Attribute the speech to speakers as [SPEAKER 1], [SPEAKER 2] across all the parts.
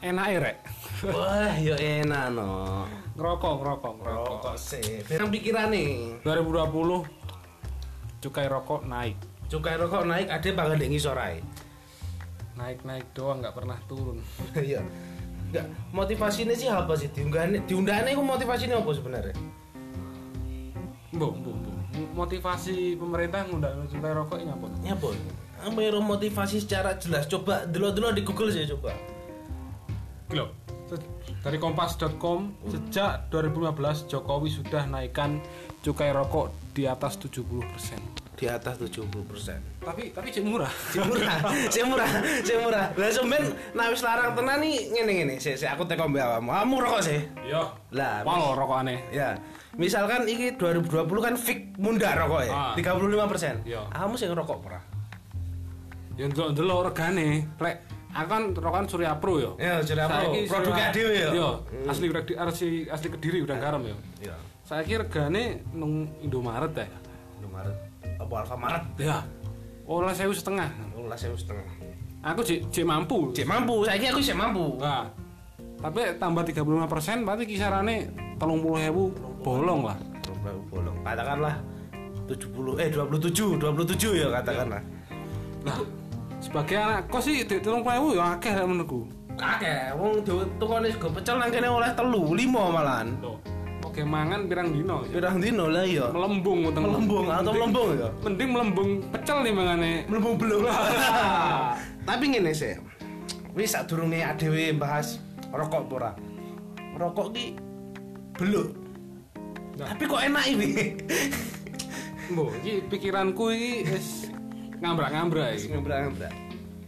[SPEAKER 1] enak ya rek
[SPEAKER 2] Wah, yo enak no.
[SPEAKER 1] ngerokok ngerokok ngerokok
[SPEAKER 2] Rokok sih. Pirang pikiran nih.
[SPEAKER 1] 2020 cukai rokok naik
[SPEAKER 2] Cukai rokok naik ada bangga dengi sorai.
[SPEAKER 1] naik naik doang nggak pernah turun
[SPEAKER 2] Iya. Enggak, motivasinya sih apa sih? Diunggahane, diundahane iku motivasinya apa sebenarnya?
[SPEAKER 1] bu bu bu motivasi pemerintah nggak cukai rokok ini apa
[SPEAKER 2] Ya, Bon. Apa ya motivasi secara jelas? Coba dulu-dulu di Google sih coba.
[SPEAKER 1] Loh, se- dari kompas.com sejak 2015 Jokowi sudah naikkan cukai rokok di atas 70%.
[SPEAKER 2] Di atas 70%.
[SPEAKER 1] Tapi tapi cek murah.
[SPEAKER 2] Sing murah, sing murah, sing murah. Lah sampean nek wis larang tenan nih ngene-ngene. Sik, sik aku teko mbek awakmu. Kamu rokok sih.
[SPEAKER 1] Yo.
[SPEAKER 2] Lah,
[SPEAKER 1] Pol rokokane.
[SPEAKER 2] Ya, misalkan iki 2020 kan fix mundar rokok ya,
[SPEAKER 1] Ah.
[SPEAKER 2] 35 persen.
[SPEAKER 1] Iya.
[SPEAKER 2] Kamu sih ngerokok pernah?
[SPEAKER 1] Yo Ya, ndelok regane. Lek aku kan rokokan Surya Pro yo.
[SPEAKER 2] Ya, Surya Pro.
[SPEAKER 1] Saiki Surya-
[SPEAKER 2] Produknya dhewe ya? Hmm. yo.
[SPEAKER 1] Yo, asli reg- asli asli Kediri udah garam yo.
[SPEAKER 2] Iya.
[SPEAKER 1] Saiki regane nang Indomaret ya.
[SPEAKER 2] Indomaret. Apa Alfamaret?
[SPEAKER 1] Ya. Oleh sewu setengah.
[SPEAKER 2] Ulas ya, saya setengah.
[SPEAKER 1] Aku cek cek mampu.
[SPEAKER 2] Cek mampu, saiki aku cek mampu.
[SPEAKER 1] Nah, tapi tambah 35 persen berarti kisarannya telung puluh ewu bolong lah.
[SPEAKER 2] Berapa bolong? Katakanlah 70 eh 27, 27 ya katakanlah.
[SPEAKER 1] Nah, sebagai anak kos sih di telung puluh ewu ya akeh lah menurutku.
[SPEAKER 2] Kakek, wong tukone sego pecel nang kene oleh telu, lima malahan.
[SPEAKER 1] Loh, oke mangan pirang dino. ya.
[SPEAKER 2] Pirang dino lah iya.
[SPEAKER 1] Melembung utang.
[SPEAKER 2] Melembung atau melembung ya?
[SPEAKER 1] Mending melembung pecel nih mangane.
[SPEAKER 2] melembung belum tapi ngene sih wis sadurunge adewe bahas rokok apa ora rokok ki beluk
[SPEAKER 1] Nah.
[SPEAKER 2] tapi kok enak ini
[SPEAKER 1] Mbok, iki pikiranku iki wis ngambrak-ngambrak iki.
[SPEAKER 2] ngebrak-ngebrak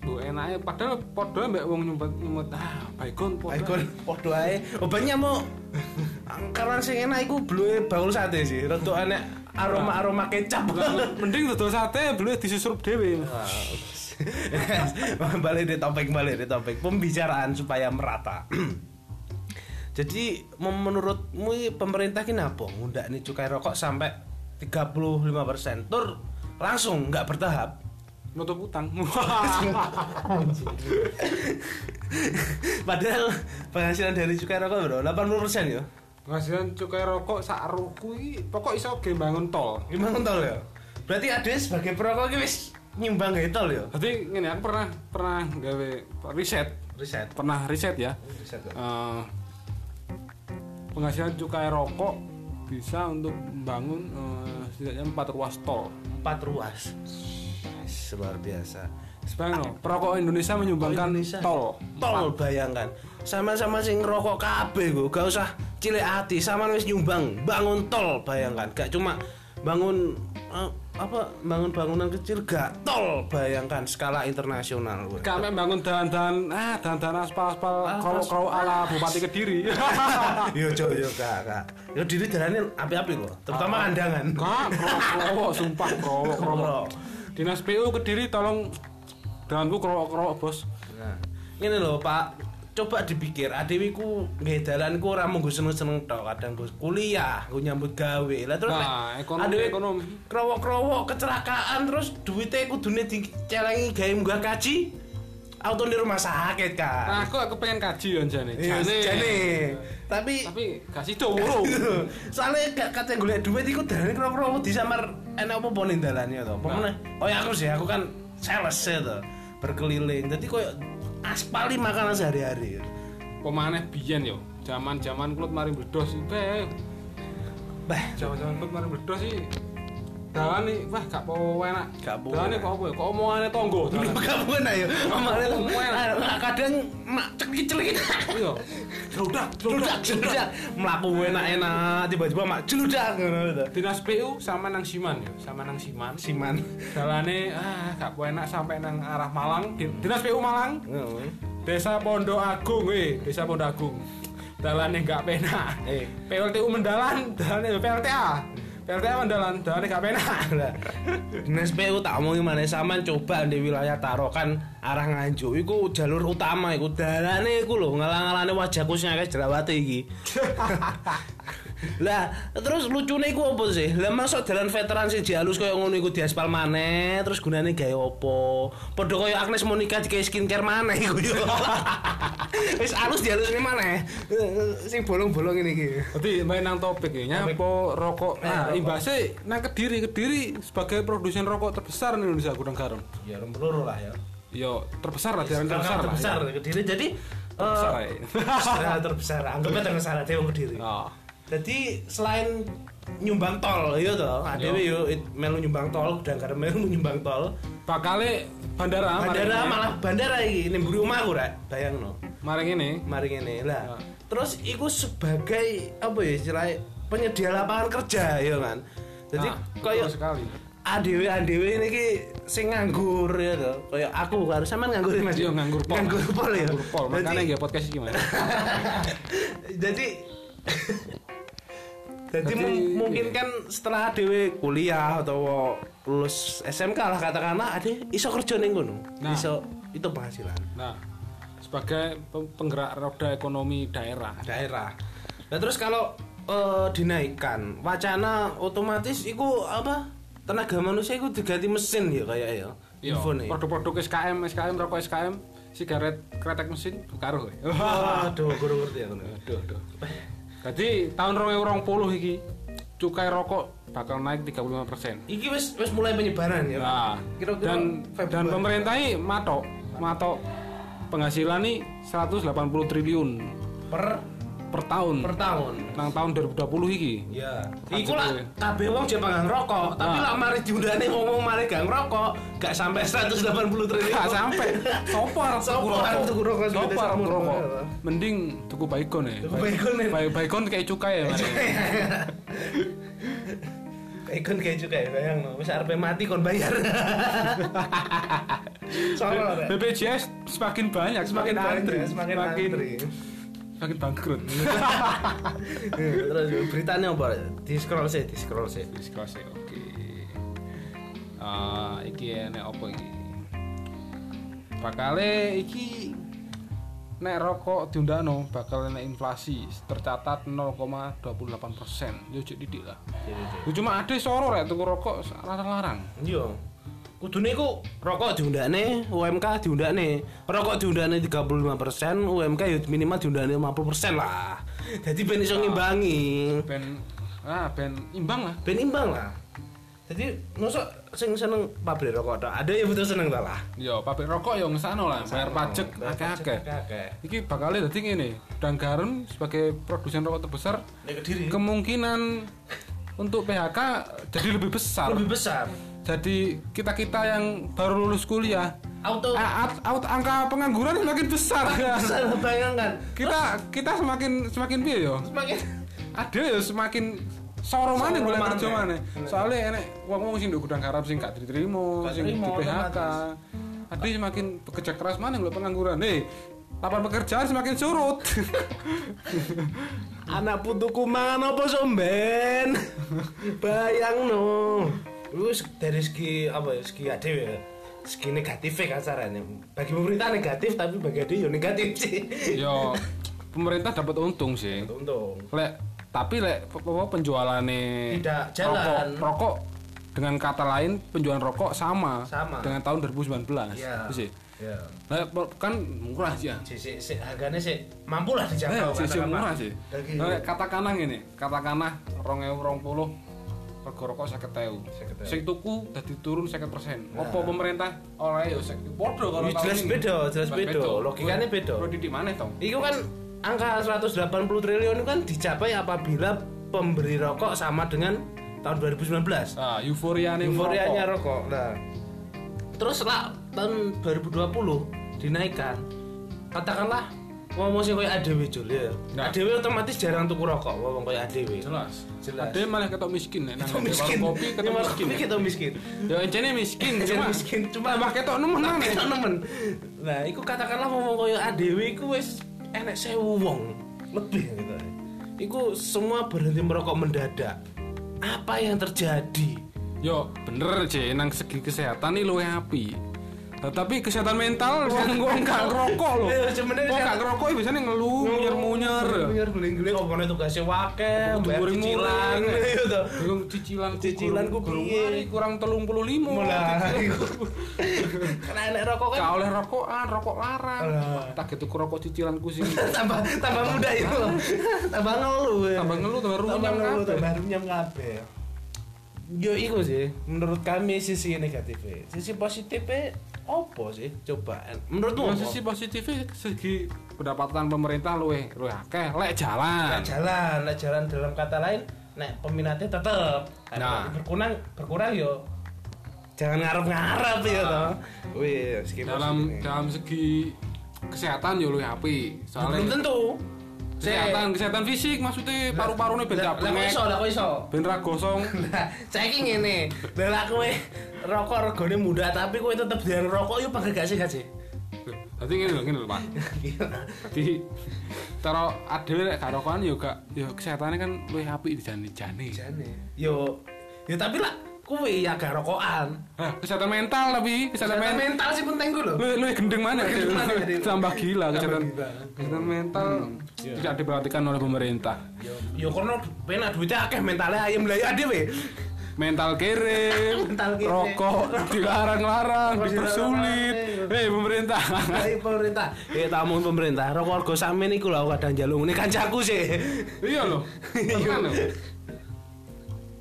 [SPEAKER 1] Mbok enake padahal padha mbek wong nyumpet-nyumpet. Ah, baikon padha.
[SPEAKER 2] Baikon podo ae obatnya mau karena sing enak iku beluke baul sate sih rada enak aroma-aroma kecap
[SPEAKER 1] Mending dodol sate belum disusup dhewe.
[SPEAKER 2] balik di topik balik di topik pembicaraan supaya merata jadi mem- menurutmu ini pemerintah ini apa ngundak nih cukai rokok sampai 35% tur langsung nggak bertahap
[SPEAKER 1] Nutup utang.
[SPEAKER 2] padahal penghasilan dari cukai rokok bro 80% ya
[SPEAKER 1] penghasilan cukai rokok sak roku iki pokok iso ge bangun tol
[SPEAKER 2] gimana tol ya berarti ada sebagai perokok ini wis nyumbang gak tol ya
[SPEAKER 1] jadi ngene aku pernah pernah gawe riset
[SPEAKER 2] riset
[SPEAKER 1] pernah riset ya
[SPEAKER 2] riset ya.
[SPEAKER 1] Eh, penghasilan cukai rokok bisa untuk membangun eh, setidaknya empat ruas tol
[SPEAKER 2] empat ruas Wis, luar biasa
[SPEAKER 1] Sebenarnya no, perokok Indonesia menyumbangkan
[SPEAKER 2] Oh, Indonesia.
[SPEAKER 1] tol
[SPEAKER 2] tol bayangkan sama-sama sing ngerokok kabeh go gak usah cilik hati sama wis nyumbang bangun tol bayangkan gak cuma bangun eh, apa bangun bangunan kecil gak tol bayangkan skala internasional weh.
[SPEAKER 1] kami bangun dahan-dahan ah dahan-dahan aspal-aspal
[SPEAKER 2] Ah,
[SPEAKER 1] kerau-kerau ala Bupati Kediri
[SPEAKER 2] yo jo yo gak gak yo diri jalannya api-api kok terutama kandangan
[SPEAKER 1] Kak, kerowok, sumpah kerowok, kerowok.
[SPEAKER 2] Kerowok.
[SPEAKER 1] Dinas PU Kediri tolong dahanku kerowok-kerowok, Bos.
[SPEAKER 2] nah ini loh pak coba dipikir adewi ku nggih dalanku ora mung seneng-seneng tok kadang ku kuliah ku nyambut gawe lah terus
[SPEAKER 1] Nah,
[SPEAKER 2] nek
[SPEAKER 1] ekonomi
[SPEAKER 2] adewe
[SPEAKER 1] ekonomi.
[SPEAKER 2] krowok-krowok kecelakaan terus duitnya kudune dicelengi gawe munggah kaji auto di rumah sakit kan
[SPEAKER 1] Nah, aku aku pengen kaji yo Ah, jane.
[SPEAKER 2] Iya, jane. tapi
[SPEAKER 1] Tapi gak sido loro.
[SPEAKER 2] soalnya gak kata golek duit iku dalane krowok-krowok disamar enak apa pone dalane to pemene koyo aku sih aku kan sales ya to berkeliling jadi koyo aspali makanan sehari-hari
[SPEAKER 1] Pemaneh biyen yo. Zaman-zaman kulit mari bledos teh.
[SPEAKER 2] bah
[SPEAKER 1] Zaman-zaman kulit mari bledos sih. Dalan nih, wah gak po enak.
[SPEAKER 2] Gak po
[SPEAKER 1] Dalan nih
[SPEAKER 2] enak.
[SPEAKER 1] kok apa ya? Kok omongane tonggo dalan.
[SPEAKER 2] Gabungan ayo. Omongane lah.
[SPEAKER 1] Omongan.
[SPEAKER 2] Ah, kadang mak celik-celik.
[SPEAKER 1] Iya. Jeludak, jeludak.
[SPEAKER 2] Jeludak, jeludak. Mlaku enak-enak tiba-tiba mak jeludak ngono to.
[SPEAKER 1] Dinas PU sama nang Siman yo, sama nang Siman.
[SPEAKER 2] Siman.
[SPEAKER 1] Dalane ah gak po enak sampai nang arah Malang. Di- Dinas PU Malang. Desa Pondok Agung, eh, Desa Pondok Agung. Dalane gak penak.
[SPEAKER 2] Eh.
[SPEAKER 1] PLTU mendalan, dalane PLTA. PLTA mendalan, dalane gak penak.
[SPEAKER 2] Lah, Dinas PU tak omongi maneh sampean coba di wilayah Tarokan arah Nganjuk iku jalur utama iku dalane iku lho ngalang-alane wajahku sing akeh jerawate iki. Lah, terus lucune iku opo sih? Lah masuk dalan veteran sing dihalus koyo ngono iku diaspal maneh, terus gunane gawe opo? Padha koyo Agnes Monica digawe skincare maneh iku yo. Wis halus dihalusne maneh. Sing bolong-bolong ini iki.
[SPEAKER 1] Jadi main nang topik ya, nyapo rokok. Nah, imbasnya nang kediri, kediri sebagai produsen rokok terbesar di Indonesia Gudang Garam.
[SPEAKER 2] Ya rum peluru lah ya.
[SPEAKER 1] Yo terbesar lah, jalan
[SPEAKER 3] terbesar
[SPEAKER 1] terbesar, lah.
[SPEAKER 3] terbesar
[SPEAKER 1] ya.
[SPEAKER 3] kediri jadi
[SPEAKER 1] Terbesar,
[SPEAKER 3] eh,
[SPEAKER 1] ya.
[SPEAKER 3] terbesar terbesar anggapnya terbesar dia wong kediri
[SPEAKER 1] Oh.
[SPEAKER 2] Jadi selain nyumbang tol iya yo to,
[SPEAKER 1] Iya.
[SPEAKER 2] adewe yo it- melu nyumbang tol, dan karena melu nyumbang tol.
[SPEAKER 1] Bakale bandara, ya.
[SPEAKER 2] Bandara malah bandara iki ning mburi omahku rek, bayangno.
[SPEAKER 1] Maring ini,
[SPEAKER 2] mari
[SPEAKER 1] Ya.
[SPEAKER 2] ngene lah terus iku sebagai apa ya istilahnya penyedia lapangan kerja ya kan jadi
[SPEAKER 1] Nah,
[SPEAKER 2] koyo
[SPEAKER 1] betul sekali.
[SPEAKER 2] adewe adewe ini ki sing nganggur ya to koyo aku harus sama nganggur ya, mas
[SPEAKER 1] Yo Iya, nganggur pol.
[SPEAKER 2] nganggur pol ya
[SPEAKER 1] Nganggur pol. Makanya
[SPEAKER 2] jadi
[SPEAKER 1] nggak podcast iki, Mas.
[SPEAKER 2] jadi jadi
[SPEAKER 1] Jadi-
[SPEAKER 2] mem- mungkin kan setelah adewe kuliah atau lulus SMK lah katakanlah ade iso kerja ning kono
[SPEAKER 1] Nah.
[SPEAKER 2] iso itu penghasilan
[SPEAKER 1] Nah, sebagai pe- penggerak roda ekonomi daerah.
[SPEAKER 2] daerah. Nah terus kalau eh, dinaikkan wacana otomatis itu apa tenaga manusia itu diganti mesin ya kayak ya
[SPEAKER 1] Yo,
[SPEAKER 2] info nih.
[SPEAKER 1] produk-produk SKM, SKM rokok SKM, sigaret, kretek mesin, ya. karo.
[SPEAKER 2] Waduh, kurang ngerti aku nih.
[SPEAKER 1] Aduh, aduh. Jadi tahun 2020 iki cukai rokok bakal naik 35%.
[SPEAKER 2] Iki wis wis mulai penyebaran ya.
[SPEAKER 1] Nah,
[SPEAKER 2] Kira-kira
[SPEAKER 1] dan dan
[SPEAKER 2] Februari.
[SPEAKER 1] pemerintah ini matok, matok penghasilan nih 180 triliun
[SPEAKER 2] per
[SPEAKER 1] per tahun.
[SPEAKER 2] per tahun.
[SPEAKER 1] Nang tahun 2020 iki.
[SPEAKER 2] Ya.
[SPEAKER 1] Kan
[SPEAKER 2] Iku lah
[SPEAKER 1] gitu
[SPEAKER 2] kabeh wong jek pangan rokok, tapi lah mari diundane ngomong mari gak ngerokok, gak sampai 180 triliun.
[SPEAKER 1] Gak sampai. Sopor,
[SPEAKER 2] Sopor, Iya, tuku rokok, sepeda
[SPEAKER 1] Sopor,
[SPEAKER 2] sabun.
[SPEAKER 1] tuku rokok. Mending tuku baikon ya.
[SPEAKER 2] Tuku Baygon ya.
[SPEAKER 1] Bay- Baygon kayak cukai ya. Mari.
[SPEAKER 2] Ikon kayak juga ya bayang no. Wis arepe mati kon bayar. Soalnya Rek.
[SPEAKER 1] BPJS semakin banyak, semakin, antri,
[SPEAKER 2] banyak, semakin antri.
[SPEAKER 1] semakin bangkrut.
[SPEAKER 2] Terus beritanya apa? Rek? Di scroll sih, di scroll sih.
[SPEAKER 1] Disclose oke. Ah, iki ya, nek opo iki? Bakale iki nek rokok diundakno bakal nek inflasi tercatat 0,28%. Yo cek didik lah. Yo cuma ade soro rek tuku rokok larang-larang.
[SPEAKER 2] Iya. Kudune iku rokok diundakne, UMK diundakne. Rokok diundakne 35%, UMK ya minimal diundakne 50% lah. Jadi ben iso ngimbangi.
[SPEAKER 1] Ben ah ben imbang lah.
[SPEAKER 2] Ben imbang lah. Jadi mosok sing seneng pabrik rokok tok. Ada yang betul seneng tok lah.
[SPEAKER 1] Yo pabrik rokok yo ngesano lah, bayar pajak akeh-akeh.
[SPEAKER 2] Kakek.
[SPEAKER 1] Iki bakal dadi ngene, Gudang Garam sebagai produsen rokok terbesar
[SPEAKER 2] Nek Kediri
[SPEAKER 1] kemungkinan untuk PHK jadi lebih besar.
[SPEAKER 2] lebih besar.
[SPEAKER 1] Jadi kita-kita yang baru lulus kuliah
[SPEAKER 2] Auto
[SPEAKER 1] a- a- out- angka pengangguran semakin besar. kan?
[SPEAKER 2] besar bayangkan.
[SPEAKER 1] kita kita semakin semakin piye yo?
[SPEAKER 2] Semakin
[SPEAKER 1] Ada ya semakin soro mana
[SPEAKER 2] Soro
[SPEAKER 1] boleh
[SPEAKER 2] maneh.
[SPEAKER 1] kerja mana? Soalnya enek wong-wong sing di gudang garam sing gak diterima,
[SPEAKER 2] Gak
[SPEAKER 1] sing di
[SPEAKER 2] terima,
[SPEAKER 1] PHK. Ada semakin bekerja keras mana yang pengangguran? Nih, lapangan pekerjaan semakin surut.
[SPEAKER 2] anak putuku mangan apa somben. Bayangno. Lu se- dari segi apa ya? Segi ade ya. Segi negatifnya kan sarannya. Bagi pemerintah negatif tapi bagi ade ya negatif sih.
[SPEAKER 1] yo pemerintah dapat untung sih.
[SPEAKER 2] Untung.
[SPEAKER 1] lek tapi lek pe- apa penjualannya
[SPEAKER 2] Tidak jalan.
[SPEAKER 1] rokok, rokok dengan kata lain penjualan rokok sama,
[SPEAKER 2] Sama.
[SPEAKER 1] dengan tahun 2019
[SPEAKER 2] Iya.
[SPEAKER 1] Itu sih
[SPEAKER 2] Ya.
[SPEAKER 1] Lek pe- kan murah sih ya
[SPEAKER 2] Si, si, si, harganya sih mampu lah
[SPEAKER 1] Eh,
[SPEAKER 2] dijangkau
[SPEAKER 1] sih sih
[SPEAKER 2] katakanlah.
[SPEAKER 1] murah sih
[SPEAKER 2] Lagi
[SPEAKER 1] lek katakanlah ini katakanlah rong ewu rong puluh rego rokok saya keteu
[SPEAKER 2] 50.000.
[SPEAKER 1] sing tuku dadi turun 50% opo pemerintah oleh ya yo sing podo karo
[SPEAKER 2] Ini Nah. jelas beda, jelas beda. Logikanya beda.
[SPEAKER 1] Bro didik maneh to
[SPEAKER 2] Itu kan angka 180 triliun itu kan dicapai apabila pemberi rokok sama dengan tahun 2019.
[SPEAKER 1] ah euforiane
[SPEAKER 2] Euforianya
[SPEAKER 1] merokok.
[SPEAKER 2] rokok. Nah. Terus lah tahun 2020 dinaikkan. Katakanlah ngomong sing koyo ADW Jul ya.
[SPEAKER 1] Nah.
[SPEAKER 2] ADW otomatis jarang tuku rokok ngomong koyo ADW.
[SPEAKER 1] jelas
[SPEAKER 2] Jelas.
[SPEAKER 1] ada yang malah ketok miskin nek nang
[SPEAKER 2] Kita miskin.
[SPEAKER 1] warung kopi ketok
[SPEAKER 2] Warung
[SPEAKER 1] miskin
[SPEAKER 2] kopi kita miskin.
[SPEAKER 1] ya encene miskin
[SPEAKER 2] Jadi
[SPEAKER 1] cuma
[SPEAKER 2] miskin cuma
[SPEAKER 1] tambah ketok nemen nang
[SPEAKER 2] Kita nemen. Nah, iku katakanlah ngomong koyo ADW iku wis enek 1000 wong lebih gitu. Iku semua berhenti merokok mendadak. Apa yang terjadi?
[SPEAKER 1] yo bener je nang segi kesehatan iki luwih api Tapi kesehatan mental wong wong gak ngerokok lho.
[SPEAKER 2] Iya,
[SPEAKER 1] Wong gak
[SPEAKER 2] sebenarnya kesehatan-
[SPEAKER 1] ngerokok ya biasanya ngeluh, munyer-munyer.
[SPEAKER 2] Biar guling-guling ngomongnya tugasnya wake, bayar cicilan
[SPEAKER 1] Guring-guring.
[SPEAKER 2] gitu toh.
[SPEAKER 1] Bingung cicilan
[SPEAKER 4] Cicilan ku piye?
[SPEAKER 1] kurang 35.
[SPEAKER 2] Mulai iku. Karena enak rokok kan
[SPEAKER 1] Gak oleh rokokan, rokok larang.
[SPEAKER 2] Lah.
[SPEAKER 1] Tak gitu ku rokok cicilanku sih.
[SPEAKER 2] tambah tambah muda itu. Tambah ngeluh. ya.
[SPEAKER 1] Tambah ngeluh, tambah runyam
[SPEAKER 2] Tambah ngeluh,
[SPEAKER 1] kabeh.
[SPEAKER 2] tambah runyam kabeh. ya. Yo iku sih, menurut kami sisi negatifnya. Sisi positifnya apa sih? Coba
[SPEAKER 1] Nah,
[SPEAKER 2] menurutmu apa?
[SPEAKER 1] sisi positifnya segi pendapatan pemerintah luwe luwe akeh lek jalan.
[SPEAKER 2] Lek jalan, lek jalan dalam kata lain, nek peminatnya tetep. Lek
[SPEAKER 1] Nah.
[SPEAKER 2] berkurang berkurang yo. Jangan ngarep-ngarep ya toh. Wih, skip
[SPEAKER 1] Nah. Dalam
[SPEAKER 2] positif.
[SPEAKER 1] dalam segi kesehatan yo luwe api.
[SPEAKER 2] belum
[SPEAKER 1] Soalnya
[SPEAKER 2] tentu.
[SPEAKER 1] kesehatan kesehatan fisik maksudnya paru-parune ben gak
[SPEAKER 2] Lah kok
[SPEAKER 1] bengek,
[SPEAKER 2] iso, lah kok iso.
[SPEAKER 1] ben ra gosong.
[SPEAKER 2] Lah, saiki ngene. Lah lah kowe rokok regane muda tapi kowe tetep diarani rokok yo pangger gak sehat sih.
[SPEAKER 1] Loh, Dadi ngene lho, ngene lho, Pak. Dadi cara adewe lek gak rokokan yo gak yo kesehatane kan luwe apik dijane-jane.
[SPEAKER 2] Jane. Yo, yo tapi lah kowe ya gak rokokan.
[SPEAKER 1] Hah, kesehatan mental tapi kesehatan,
[SPEAKER 2] Kesehatan
[SPEAKER 1] mental
[SPEAKER 2] mental sih penting gue lho.
[SPEAKER 1] lu lu gendeng mana
[SPEAKER 2] Gendeng
[SPEAKER 1] Cil?
[SPEAKER 2] mana, Cil?
[SPEAKER 1] tambah gila
[SPEAKER 2] Tambah
[SPEAKER 1] kesehatan
[SPEAKER 2] gila. Hmm, iya.
[SPEAKER 1] kesehatan mental tidak diperhatikan oleh pemerintah
[SPEAKER 2] Yo, yo kono penak duitnya akeh mentalnya ayam lah ya dhewe.
[SPEAKER 1] mental kirim
[SPEAKER 2] Mental kirim.
[SPEAKER 1] rokok dilarang-larang
[SPEAKER 2] Rokok
[SPEAKER 1] dipersulit
[SPEAKER 2] dilarang-larang. iya.
[SPEAKER 1] hei pemerintah
[SPEAKER 2] Dari pemerintah. Ya tamu pemerintah, rokok rego sakmene iku lho kadang njaluk ngene kancaku sih.
[SPEAKER 1] iya loh tenan loh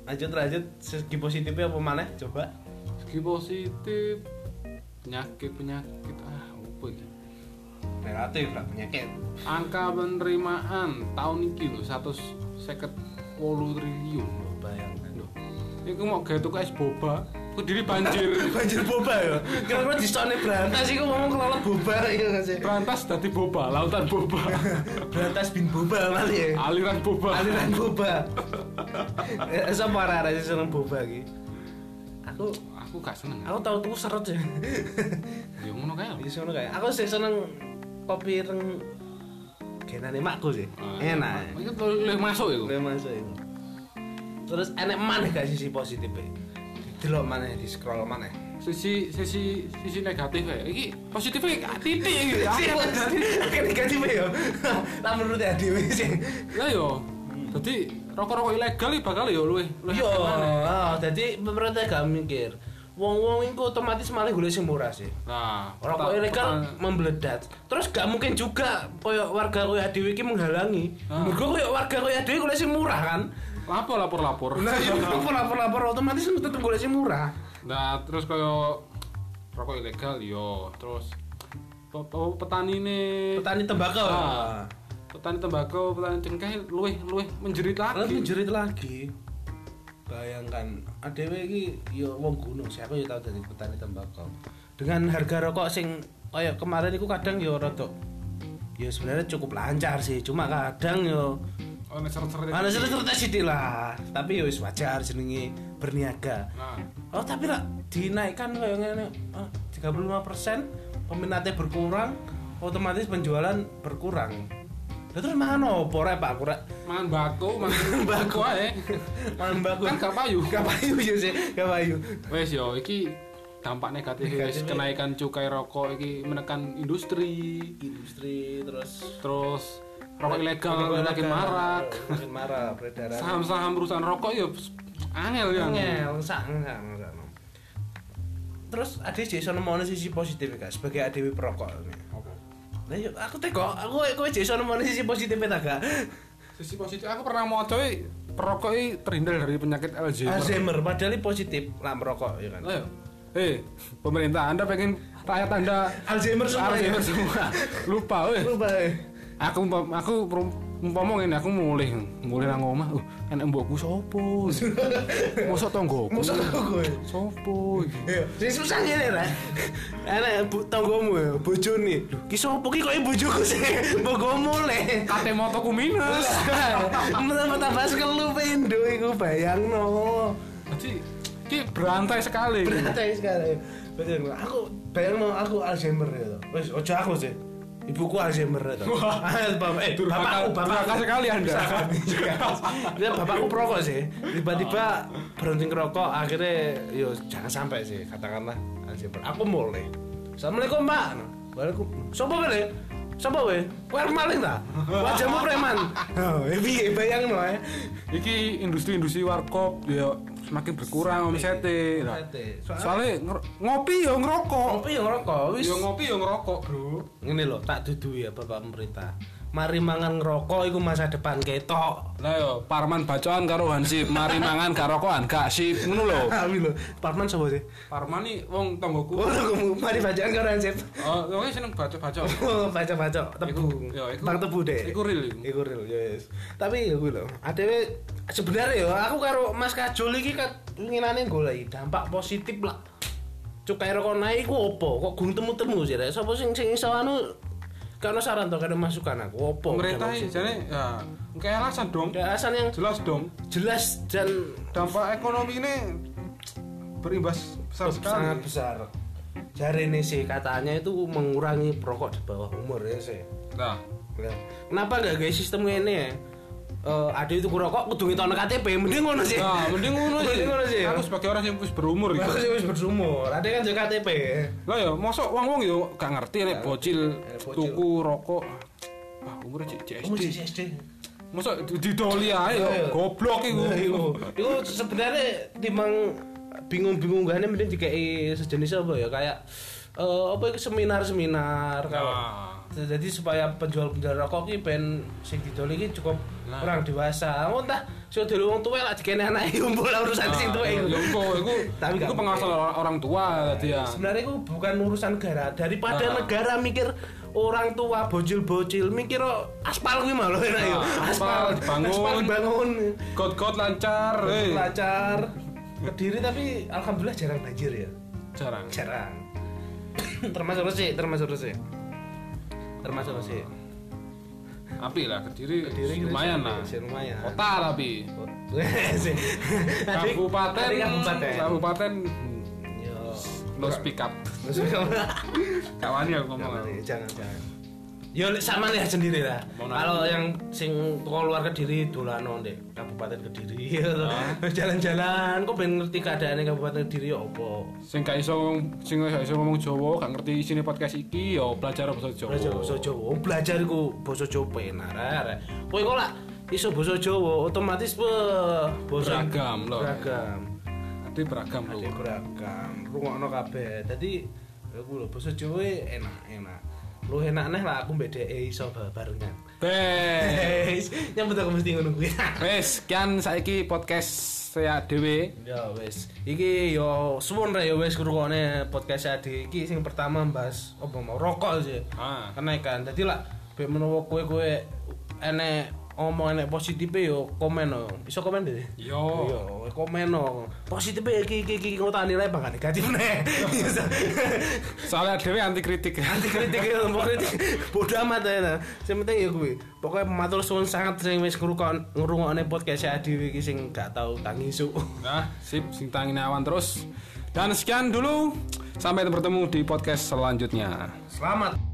[SPEAKER 2] Lanjut lanjut segi positifnya apa maneh coba.
[SPEAKER 1] segi positif penyakit penyakit ah apa ini?
[SPEAKER 2] Relatif lah penyakit.
[SPEAKER 1] angka penerimaan tahun ini loh 158 triliun loh
[SPEAKER 2] Bayangkan.
[SPEAKER 1] Loh, Iku mau gaya tuku es boba, kediri banjir.
[SPEAKER 2] Banjir boba ya. Kira-kira disone berantas iku ngomong kelolok boba ya nggak sih.
[SPEAKER 1] Rantas dadi boba, lautan boba,
[SPEAKER 2] Berantas bin boba kali ya.
[SPEAKER 1] aliran boba.
[SPEAKER 2] Aliran boba. Eh, Sapa arah-arah sih seneng boba iki? Aku
[SPEAKER 1] Aku gak seneng.
[SPEAKER 2] aku tau tuh seret ya.
[SPEAKER 1] Ya ngono kae. lho.
[SPEAKER 2] Iya seneng kayak. Aku sih seneng kopi reng genane makku sih.
[SPEAKER 1] Ah,
[SPEAKER 2] Enak.
[SPEAKER 1] Itu boleh masuk iku.
[SPEAKER 2] Gue masuk iku. Terus enek maneh gak sisi positifnya? Delok maneh di scroll maneh.
[SPEAKER 1] Sisi sisi sisi negatif ya. Iki positifnya gak titik iki. Aku-
[SPEAKER 2] negatif ya. Lah menurut ya dhewe sih.
[SPEAKER 1] Lah yo. Dadi rokok-rokok ilegal iki bakal yo luwih luwih
[SPEAKER 2] Yo,
[SPEAKER 1] akeh maneh.
[SPEAKER 2] ah, jadi pemerintah gak mikir. Wong-wong iku otomatis malah golek sing murah sih.
[SPEAKER 1] Nah,
[SPEAKER 2] Rokok
[SPEAKER 1] peta-
[SPEAKER 2] ilegal
[SPEAKER 1] peta-
[SPEAKER 2] membeledat. Terus gak mungkin juga koyo warga koyo dhewe iki menghalangi.
[SPEAKER 1] Ah.
[SPEAKER 2] Mergo koyo warga koyo dhewe golek sing murah kan.
[SPEAKER 1] Lapor lapor-lapor.
[SPEAKER 2] Lah yo lapor-lapor otomatis tetep golek sing murah.
[SPEAKER 1] Nah, terus koyo rokok ilegal yo, terus pe- pe- petani ini
[SPEAKER 2] Petani tembakau.
[SPEAKER 1] Ah. petani tembakau, petani cengkeh luwih luwih menjerit
[SPEAKER 2] Lah
[SPEAKER 1] lagi.
[SPEAKER 2] menjerit lagi. Bayangkan, adewe iki yo wong gunung sih aku yo tau dadi petani tembakau. Dengan harga rokok sing kaya kemarin iku kadang yo rada yo sebenarnya cukup lancar sih, cuma kadang yo
[SPEAKER 1] Oh, nek seret-seret
[SPEAKER 2] mana sih cerita sithik lah. Tapi yo wis wajar jenenge berniaga.
[SPEAKER 1] Nah,
[SPEAKER 2] Oh, tapi lah dinaikkan kaya ngene ah, 35% peminatnya berkurang, otomatis penjualan berkurang. Lah terus mangan opo rek Pak? Aku rek
[SPEAKER 1] mangan bako, mangan bako ae.
[SPEAKER 2] mangan bagus.
[SPEAKER 1] Kan gak payu.
[SPEAKER 2] Gak payu ya sih, gak payu.
[SPEAKER 1] Wes yo iki dampak negatif wis
[SPEAKER 2] Negatifnya.
[SPEAKER 1] kenaikan cukai rokok iki menekan industri,
[SPEAKER 2] Industri terus
[SPEAKER 1] terus rokok ilegal
[SPEAKER 2] Rokok
[SPEAKER 1] makin
[SPEAKER 2] ilegal,
[SPEAKER 1] marak.
[SPEAKER 2] Makin marak peredaran.
[SPEAKER 1] Saham-saham perusahaan rokok yo angel ya.
[SPEAKER 2] Ngel, sang, sang, sang. Terus ade sih sono mau sisi positif gak sebagai adewi perokok. Nah, yuk, aku tega, aku kowe sih sono mau sisi positif ta gak?
[SPEAKER 1] Sisi positif aku pernah mau coy perokok iki terhindar dari penyakit Alzheimer.
[SPEAKER 2] Alzheimer padahal ini positif lah merokok ya kan.
[SPEAKER 1] Ayo. Eh, pemerintah Anda pengen rakyat Anda
[SPEAKER 2] Alzheimer semua. ya?
[SPEAKER 1] Alzheimer semua. Lupa weh.
[SPEAKER 2] Lupa. ya?
[SPEAKER 1] aku umpam- aku perum- umpama ngene aku mulih mulih nang omah uh enek mbokku sopo mosok tanggoku
[SPEAKER 2] Musuh kowe.
[SPEAKER 1] sopo
[SPEAKER 2] Iya, sing susah ngene lah. Ana bu tanggomu ya, bojone. Lho, ki sapa ki kok bojoku sih? Bogomu le.
[SPEAKER 1] kate motoku minus
[SPEAKER 2] Menapa tambah kelup endo iku bayangno.
[SPEAKER 1] jadi ki berantai sekali
[SPEAKER 2] Berantai sekali. Betul. Aku bayangno aku Alzheimer ya to. Wis ojo aku sih. Ibuku Alzheimer ya to. Ah, Bapak eh
[SPEAKER 1] Durhaka-
[SPEAKER 2] bapakku
[SPEAKER 1] durhaka
[SPEAKER 2] bapakku.
[SPEAKER 1] sekali Anda.
[SPEAKER 2] Dia bapakku perokok sih. Tiba-tiba berhenti ngerokok akhirnya yo jangan sampai sih katakanlah Alzheimer. Aku mulai Assalamualaikum Pak. Waalaikum. Sopo kene? Sopo we? Kowe arep maling ta? Wajahmu preman. Oh, eh, piye bayangno ae.
[SPEAKER 1] Iki industri-industri warkop ya semakin berkurang omsete. Lah.
[SPEAKER 2] Omsete. Soalnya-
[SPEAKER 1] Soalnya nger- ngopi ya ngerokok.
[SPEAKER 2] Ngopi yo ngerokok wis.
[SPEAKER 1] Ya ngopi ya ngerokok, Bro.
[SPEAKER 2] Ngene lho, tak dudu ya Bapak pemerintah. Mari mangan ngerokok iku masa depan ketok.
[SPEAKER 1] Lah yo Parman bacaan karo Hansip, mari mangan gak rokokan gak sip ngono lho.
[SPEAKER 2] Awi lho, Parman sapa sih?
[SPEAKER 1] Parman iki wong tanggoku.
[SPEAKER 2] Oh, lho, mari bacaan karo Ansip.
[SPEAKER 1] Oh, wong seneng baca-baca.
[SPEAKER 2] Oh, Baca-baca
[SPEAKER 1] Iku-
[SPEAKER 2] tebu.
[SPEAKER 1] ya, iku-
[SPEAKER 2] Bang tebu deh.
[SPEAKER 1] iku real iku.
[SPEAKER 2] Iku real, yes. Tapi ya gue lho, adewe sebenarnya ya aku karo Mas Kajol iki kat pinginane golek dampak positif lah. Cukai rokok naik ku opo? Kok gung temu-temu sih rek. Sapa sing sing iso anu Karena saran to karo masukan aku opo?
[SPEAKER 1] Pemerintah
[SPEAKER 2] dampak
[SPEAKER 1] iki
[SPEAKER 2] positif?
[SPEAKER 1] jane ya kayak alasan dong.
[SPEAKER 2] Ada alasan yang
[SPEAKER 1] Jelas dong.
[SPEAKER 2] jelas dan
[SPEAKER 1] Dampak ekonomi ini berimbas besar
[SPEAKER 2] sangat
[SPEAKER 1] sekali.
[SPEAKER 2] besar jari ini sih katanya itu mengurangi perokok di bawah umur ya sih
[SPEAKER 1] Nah,
[SPEAKER 2] Nah, kenapa gak guys sistem ini ya Eh, ada itu rokok kudu ngitung KTP mending ngono sih
[SPEAKER 1] nah mending ngono
[SPEAKER 2] mending ngono sih
[SPEAKER 1] sih.
[SPEAKER 2] ya.
[SPEAKER 1] Aku sebagai orang yang wis berumur
[SPEAKER 2] aku
[SPEAKER 1] gitu.
[SPEAKER 2] sih wis berumur ada kan juga KTP
[SPEAKER 1] Lah ya, mosok wong-wong yo gak ngerti nek bocil
[SPEAKER 2] Ya, eh, bocil.
[SPEAKER 1] tuku rokok. Wah, umur cek cek
[SPEAKER 2] kamu
[SPEAKER 1] SD.
[SPEAKER 2] sih SD
[SPEAKER 1] Mosok di- didoli ae yo
[SPEAKER 2] Iya.
[SPEAKER 1] goblok iku.
[SPEAKER 2] itu sebenarnya timbang bingung-bingung gak mending dikei sejenis apa ya kayak eh, apa itu seminar-seminar kalau
[SPEAKER 1] Nah.
[SPEAKER 2] jadi supaya penjual-penjual rokok ki ben sing didol iki cukup
[SPEAKER 1] Nah.
[SPEAKER 2] kurang dewasa. Aku entah sing didol wong tuwa lah dikene anake yumpul lah urusan sing
[SPEAKER 1] Ah,
[SPEAKER 2] tuwa iku.
[SPEAKER 1] Yo Nah, ya engko iku
[SPEAKER 2] Tapi
[SPEAKER 1] iku
[SPEAKER 2] gak Nah,
[SPEAKER 1] pengawasan orang, orang tua tadi ya.
[SPEAKER 2] Sebenarnya itu bukan urusan negara. Daripada
[SPEAKER 1] Nah.
[SPEAKER 2] negara mikir orang tua bocil-bocil mikir oh, aspal kuwi malah enak ya.
[SPEAKER 1] Nah,
[SPEAKER 2] Aspal
[SPEAKER 1] aspal dibangun.
[SPEAKER 2] Aspal dibangun.
[SPEAKER 1] God-god lancar, eh.
[SPEAKER 2] Lancar. Kediri tapi alhamdulillah jarang banjir ya.
[SPEAKER 1] Jarang.
[SPEAKER 2] Jarang. termasuk Resik, termasuk Resik. Termasuk Resik.
[SPEAKER 1] Api lah Kediri,
[SPEAKER 2] Kediri
[SPEAKER 1] lumayan
[SPEAKER 2] Gresik,
[SPEAKER 1] lah.
[SPEAKER 2] Gresik lumayan.
[SPEAKER 1] Kota tapi.
[SPEAKER 2] Tadi-
[SPEAKER 1] Kabupaten,
[SPEAKER 2] tadi kabupaten.
[SPEAKER 1] kabupaten
[SPEAKER 2] Yo.
[SPEAKER 1] lo speak up.
[SPEAKER 2] Terus kamu-
[SPEAKER 1] Kawan ya ngomong.
[SPEAKER 2] jangan jangan. Yo lek sama lihat sendiri lah.
[SPEAKER 1] Mau nanya.
[SPEAKER 2] Kalau yang sing toko luar Kediri dolano deh, Kabupaten Kediri.
[SPEAKER 1] Oh.
[SPEAKER 2] Terus jalan-jalan kok ben ngerti keadaannya Kabupaten Kediri ya opo.
[SPEAKER 1] Sing gak iso sing gak iso ngomong Jawa, gak ngerti isine podcast iki yo belajar basa Jawa.
[SPEAKER 2] Belajar basa Jawa, Oh, belajar iku basa Jawa penak arek. Kowe kok lak iso basa Jawa otomatis weh, basa
[SPEAKER 1] Beragam loh.
[SPEAKER 2] Beragam.
[SPEAKER 1] Nanti beragam
[SPEAKER 2] Ada
[SPEAKER 1] lho.
[SPEAKER 2] yang beragam, rungokno kabeh. Dadi aku lho basa Jawa enak, enak. Lu enak neh lah aku bedeke iso barengan.
[SPEAKER 1] Beh.
[SPEAKER 2] Guys, nyambut aku mesti ngono kuwi.
[SPEAKER 1] Wes, sekian saiki podcast saya dhewe.
[SPEAKER 2] Ya wis. Iki yo suwun rek yo wis ngrungokne podcast Adi iki sing pertama bahas opo mau rokok sih.
[SPEAKER 1] Ah.
[SPEAKER 2] Kenaikan. Dadi lah ben menawa kowe-kowe enek omong enek positife yo komen no. Iso komen deh.
[SPEAKER 1] Yo.
[SPEAKER 2] Yo, komen no. Positif e iki iki iki ngotani lae bakal negatif nih.
[SPEAKER 1] Soalnya dhewe anti kritik.
[SPEAKER 2] Anti kritik ya, mau kritik. Bodoh amat ya. nah. Sing penting ya kuwi. Pokoke matur suwun sangat sing wis ngrungokne ngrungokne podcast Adi iki sing gak tau tangi isu.
[SPEAKER 1] Nah, sip sing tangin awan terus. Dan sekian dulu. Sampai bertemu di podcast selanjutnya.
[SPEAKER 2] Selamat